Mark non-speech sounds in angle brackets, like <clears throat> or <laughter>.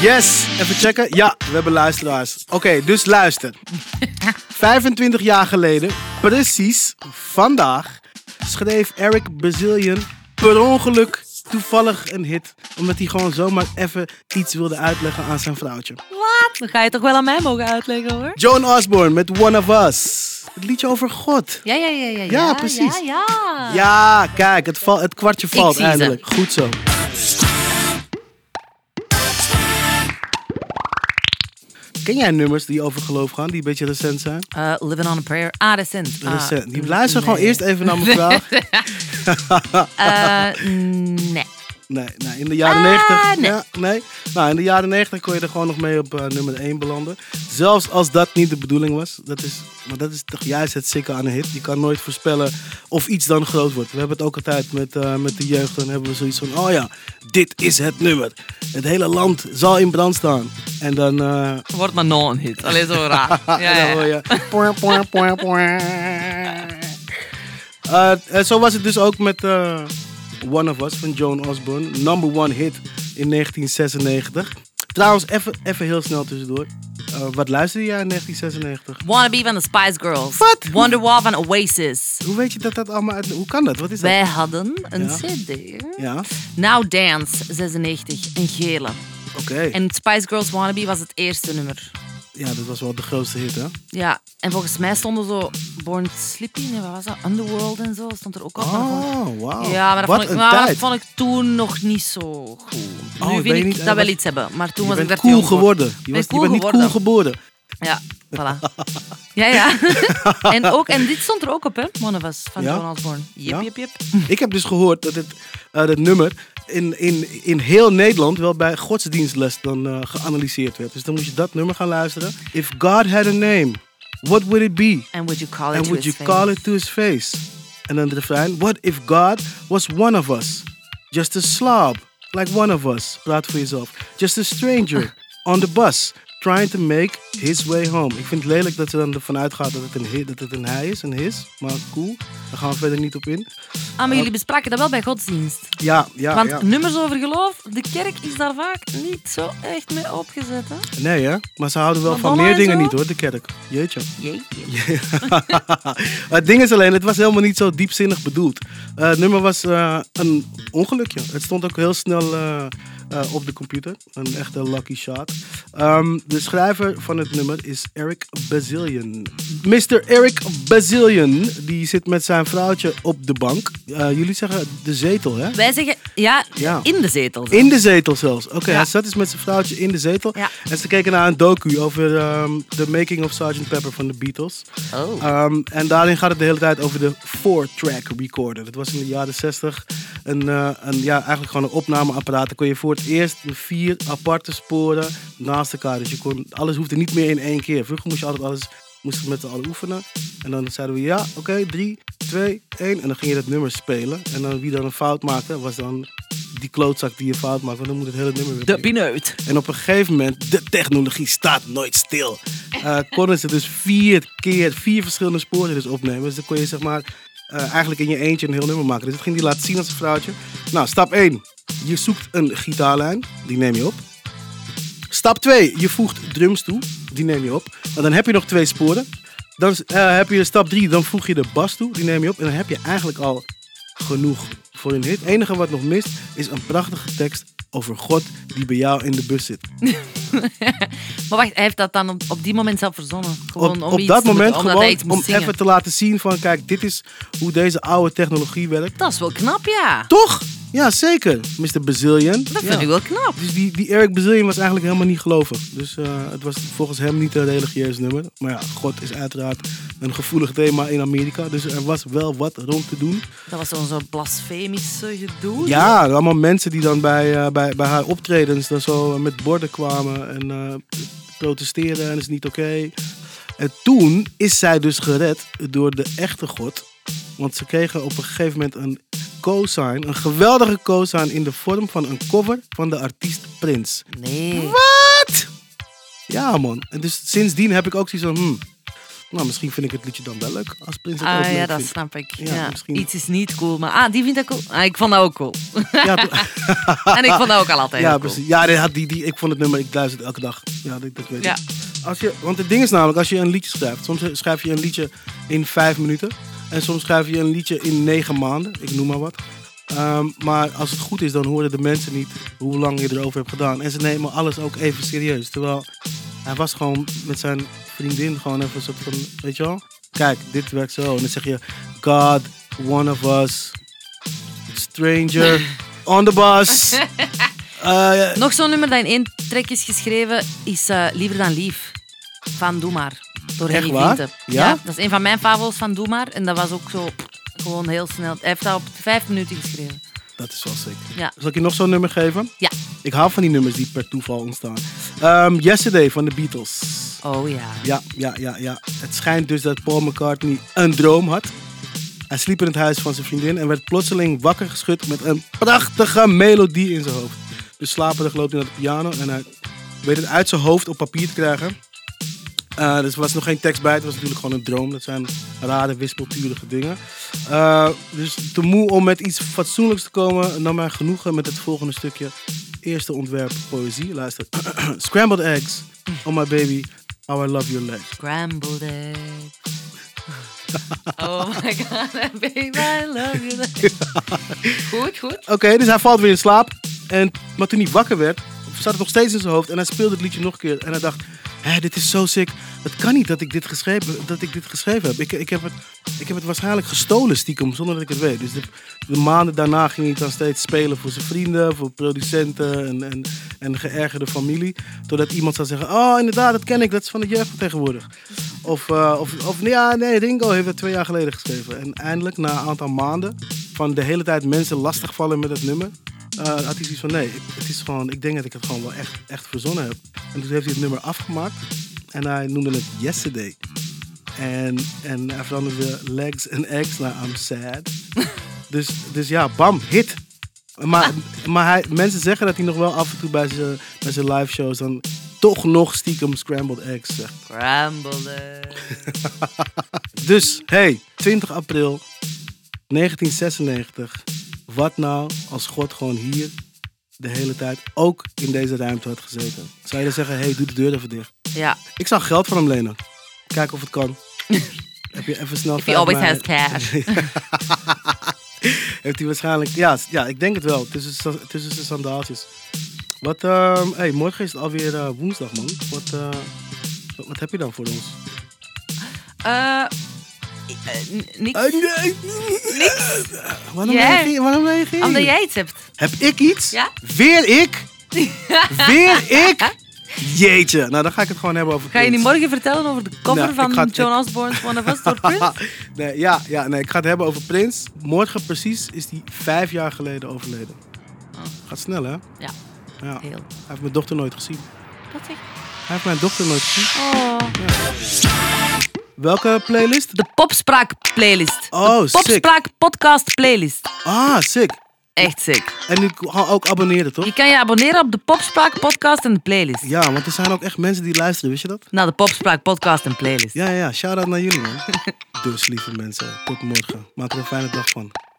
Yes, even checken. Ja, we hebben luisteraars. Oké, dus luister. 25 jaar geleden, precies vandaag, schreef Eric Brazilian per ongeluk toevallig een hit. Omdat hij gewoon zomaar even iets wilde uitleggen aan zijn vrouwtje. Wat? Dan ga je toch wel aan mij mogen uitleggen hoor. Joan Osborne met One of Us. Het liedje over God. Ja, ja, ja, ja. Ja, precies. Ja, ja. Ja, kijk, het, val, het kwartje valt Ah. zie ze. eindelijk. Goed zo. Ken jij nummers die over geloof gaan, die een beetje recent zijn? Eh, living on a Prayer. Ah, dat is in. Ah, recent. Die luister nee. gewoon eerst even naar mijn <laughs> vraag. Eh, nee. Nee, nee, in de jaren Ah, 90. nee. Ja, nee. Nou, in de jaren 90 kon je er gewoon nog mee op eh, nummer 1 belanden. Zelfs als dat niet de bedoeling was. Dat is, maar dat is toch juist het sikke aan een hit. Je kan nooit voorspellen of iets dan groot wordt. We hebben het ook altijd met, eh, met de jeugd. Dan hebben we zoiets van: oh ja, dit is het nummer. Het hele land zal in brand staan. En dan. eh, Wordt maar non hit. Alleen <laughs> zo raar. en dan Ja, Ah, ja, hoor ja. je. poer, poer, poer, poer. Eh, en zo was het dus ook met eh, One of Us van Joan Osborne. Number one hit in 1996. Trouwens, even even heel snel tussendoor. Eh, wat luisterde jij in 1996? Wannabe van de Spice Girls. Wat? Wonderwall van Oasis. Hoe weet je dat dat allemaal uit... Hoe kan dat? Wat is dat? Wij hadden een Ja. CD. Ja, oké. Now Dance 96, een gele. En Spice Girls Wannabe was het eerste nummer. Ja, dat was wel de grootste hit, hè? Ja, en volgens mij stonden zo Born Sleepy, nee, wat was dat? Underworld en zo stond er ook al. maar dat vond ik- Oh, wauw. Ja, maar, dat Wat vond, ik, een maar dat tijd. vond ik toen nog niet zo goed. Oh, nu ben wil je ik niet- dat wel wat- iets hebben, maar toen Je was ik bent daar te cool jong voor. geworden. Je, Ben was, cool je bent niet cool geworden. Ja, voilà. <laughs> Ja, ja. <laughs> en, ook, en dit stond er ook op, hè? One of Us, van Ja? John Osborne. Jip, Ja? jip, jip. <laughs> Ik heb dus gehoord dat het, eh, dat nummer in, in, in heel Nederland wel bij godsdienstles dan eh, geanalyseerd werd. Dus dan moest je dat nummer gaan luisteren. If God had a name, what would it be? And would you call it And to would you his call face? it to his face? En dan de refrein. What if God was one of us? Just a slob, like one of us. Praat voor jezelf. Just a <laughs> stranger on the bus. Trying to make his way home. Ik vind het lelijk dat ze dan ervan uitgaat dat het een, he- dat het een hij is, een his. Maar cool, daar gaan we verder niet op in. Ah, maar jullie bespraken dat wel bij godsdienst. Ja, ja, Want Ah, ja. nummers over geloof, de kerk is daar vaak niet zo echt mee opgezet. Hè? Nee, hè? Maar ze houden wel van Madonna meer en dingen zo? niet, hoor, de kerk. Jeetje. <laughs> Jeetje. het ding is alleen, het was helemaal niet zo diepzinnig bedoeld. Eh, het nummer was eh, een ongelukje. Het stond ook heel snel eh, eh, op de computer. Een echte lucky shot. Ehm, de schrijver van het nummer is Eric Bazilian. Mr. Eric Bazilian, die zit met zijn vrouwtje op de bank. Eh, jullie zeggen de zetel, hè? Wij zeggen, ja, Ja. in de zetel. In de zetel zelfs. Oké, Ja. hij zat dus met zijn vrouwtje in de zetel. Ja. En ze keken naar een docu over ehm, de making of Sgt. Pepper van de Beatles. Oh. Ehm, en daarin gaat het de hele tijd over de four-track recorder. Dat was in de jaren 60 een, eh, een, ja, eigenlijk gewoon een opnameapparaat. Dan kon je voor het eerst vier aparte sporen naast elkaar. Dus je kon, alles hoefde niet meer in één keer. Vroeger moest je altijd alles moesten we met z'n allen oefenen. En dan zeiden we ja, oké, drie, twee, één. En dan ging je dat nummer spelen. En dan wie dan een fout maakte, was dan die klootzak die je fout maakte. Want dan moet het hele nummer weer De pineut. en op een gegeven moment, de technologie staat nooit stil. Eh, konden ze dus vier keer, vier verschillende sporen dus opnemen. Dus dan kon je zeg maar eh, eigenlijk in je eentje een heel nummer maken. Dus dat ging die laten zien als een vrouwtje. Nou, stap 1. Je zoekt een gitaarlijn. Die neem je op. Stap 2. Je voegt drums toe. Die neem je op. Nou, dan heb je nog twee sporen. Dan eh, heb je stap 3. Dan voeg je de bas toe. Die neem je op. En dan heb je eigenlijk al genoeg voor een hit. Het enige wat nog mist is een prachtige tekst over God die bij jou in de bus zit. Maar wacht, hij heeft dat dan op, op die moment zelf verzonnen. Gewoon op om op iets dat te moment moeten- omdat hij gewoon iets moest om zingen. even te laten zien van kijk, dit is hoe deze oude technologie werkt. Dat is wel knap, ja. Toch? Ja, zeker. Mr. Bazillion. Dat Ja. vind ik wel knap. Dus die, die Eric Bazillion was eigenlijk helemaal niet gelovig. Dus eh, het was volgens hem niet een religieus nummer. Maar ja, God is uiteraard een gevoelig thema in Amerika. Dus er was wel wat rond te doen. Dat was zo'n zo'n blasfemisch eh, gedoe. Ja, allemaal mensen die dan bij, eh, bij, bij haar optredens dan zo met borden kwamen en eh, protesteren en is niet oké. En toen is zij dus gered door de echte God. Want ze kregen op een gegeven moment een cosign, een geweldige cosign in de vorm van een cover van de artiest Prins. Nee. Wat? Ja man, en dus sindsdien heb ik ook zoiets van, hmm, Nou, misschien vind ik het liedje dan wel leuk als Prins het ook Ah ja, leuk dat vindt. snap ik. Ja, Ja, misschien. Iets is niet cool, maar ah, die vindt dat cool. Ah, ik vond dat ook cool. <laughs> Ja, pl- en ik vond dat ook al altijd ja, heel cool. precies. Dus Ja, die, had die, die, ik vond het nummer, ik luister het elke dag. Ja, dat, dat weet Ja. ik. Als je, want het ding is namelijk, als je een liedje schrijft, soms schrijf je een liedje in vijf minuten. En soms schrijf je een liedje in negen maanden, ik noem maar wat. Ehm, maar als het goed is, dan horen de mensen niet hoe lang je erover hebt gedaan. En ze nemen alles ook even serieus. Terwijl hij was gewoon met zijn vriendin gewoon even een soort van, weet je wel? Kijk, dit werkt zo. En dan zeg je, God, one of us, stranger, on the bus. Eh, Nog zo'n nummer dat in één track is geschreven is eh, Liever dan Lief. Van Doe maar. Door Echt Henny waar? Vrienden. Ja? Dat is een van mijn favorieten van Doe maar. En dat was ook zo pff, gewoon heel snel. Hij heeft dat op vijf minuten geschreven. Dat is wel sick. Ja. Zal ik je nog zo'n nummer geven? Ja. Ik hou van die nummers die per toeval ontstaan. Ehm, Yesterday van de Beatles. Oh ja. Ja, ja, ja, ja. Het schijnt dus dat Paul McCartney een droom had. Hij sliep in het huis van zijn vriendin en werd plotseling wakker geschud met een prachtige melodie in zijn hoofd. Dus slaperig loopt hij naar de piano en hij weet het uit zijn hoofd op papier te krijgen. Eh, dus er was nog geen tekst bij, het was natuurlijk gewoon een droom. Dat zijn rare, wispelturige dingen. Eh, dus te moe om met iets fatsoenlijks te komen, nam hij genoegen met het volgende stukje. Eerste ontwerp poëzie, luister. <clears throat> Scrambled eggs, oh my baby, how I love your legs. Scrambled <laughs> egg. Oh my god, <laughs> baby, I love you. <laughs> Goed, goed. Oké, dus hij valt weer in slaap. En, maar toen hij wakker werd, zat het nog steeds in zijn hoofd. En hij speelde het liedje nog een keer. En hij dacht, hé, dit is zo sick. Het kan niet dat ik dit geschreven, dat ik dit geschreven heb. Ik, ik, heb het, ik heb het waarschijnlijk gestolen stiekem, zonder dat ik het weet. Dus de, de maanden daarna ging hij het dan steeds spelen voor zijn vrienden, voor producenten en, en, en geërgerde familie. Totdat iemand zou zeggen, oh inderdaad, dat ken ik. Dat is van de jeugd van tegenwoordig. Of, eh, of, of nee, ja, nee, Ringo heeft het twee jaar geleden geschreven. En eindelijk, na een aantal maanden, van de hele tijd mensen lastigvallen met het nummer. eh, had hij zoiets van, nee, ik- het is gewoon, ik denk dat ik het gewoon wel echt, echt verzonnen heb. En toen heeft hij het nummer afgemaakt. En hij noemde het Yesterday. En, en hij veranderde legs en eggs naar I'm sad. dus, dus ja, bam, hit. Maar, maar hij, mensen zeggen dat hij nog wel af en toe bij zijn, bij zijn live shows dan toch nog stiekem scrambled eggs zegt. Scrambled egg. Dus, hey, 20 april 1996. Wat nou als God gewoon hier de hele tijd ook in deze ruimte had gezeten? Zou je dan zeggen, hey, doe de deur even dicht. Ja. Ik zou geld van hem lenen. Kijken of het <laughs> kan. Heb je even snel... If he vijf always has maanden- <laughs> cash. Heeft hij waarschijnlijk... Ja, s- ja, ik denk het wel. Tussen, sa- tussen zijn sandaaltjes. Wat, ehm, hey, morgen is het alweer eh, woensdag, man. Wat, eh, wat, wat heb je dan voor ons? Eh, eh, n- niks. Eh, Waarom Jij. reageer je? Waarom reageer je? Omdat jij iets hebt. Heb ik iets? Ja? Weer <laughs> ik? Weer ik? Jeetje. Nou, dan ga ik het gewoon hebben over Ga je Prince. niet morgen vertellen over de cover Nou, ik van ga het- John Osborne's One of Us door <laughs> Prince? nee, ja, ja, nee, ik ga het hebben over Prins. Morgen precies is hij vijf jaar geleden overleden. Gaat snel, hè? <laughs> Ja, Ja. Hij Oh. heel. heeft mijn dochter nooit gezien. Wat zeg Hij heeft mijn dochter nooit gezien. Oh. Welke playlist? De Popspraak playlist. Oh, de sick. Popspraak podcast playlist. Ah, sick. Echt sick. En nu kan ook abonneren, toch? Je kan je abonneren op de Popspraak podcast en de playlist. Ja, want er zijn ook echt mensen die luisteren, wist je dat? Nou, de Popspraak podcast en playlist. Ja, ja, ja. Shout-out naar jullie, man. dus, lieve mensen, tot morgen. Maak er een fijne dag van.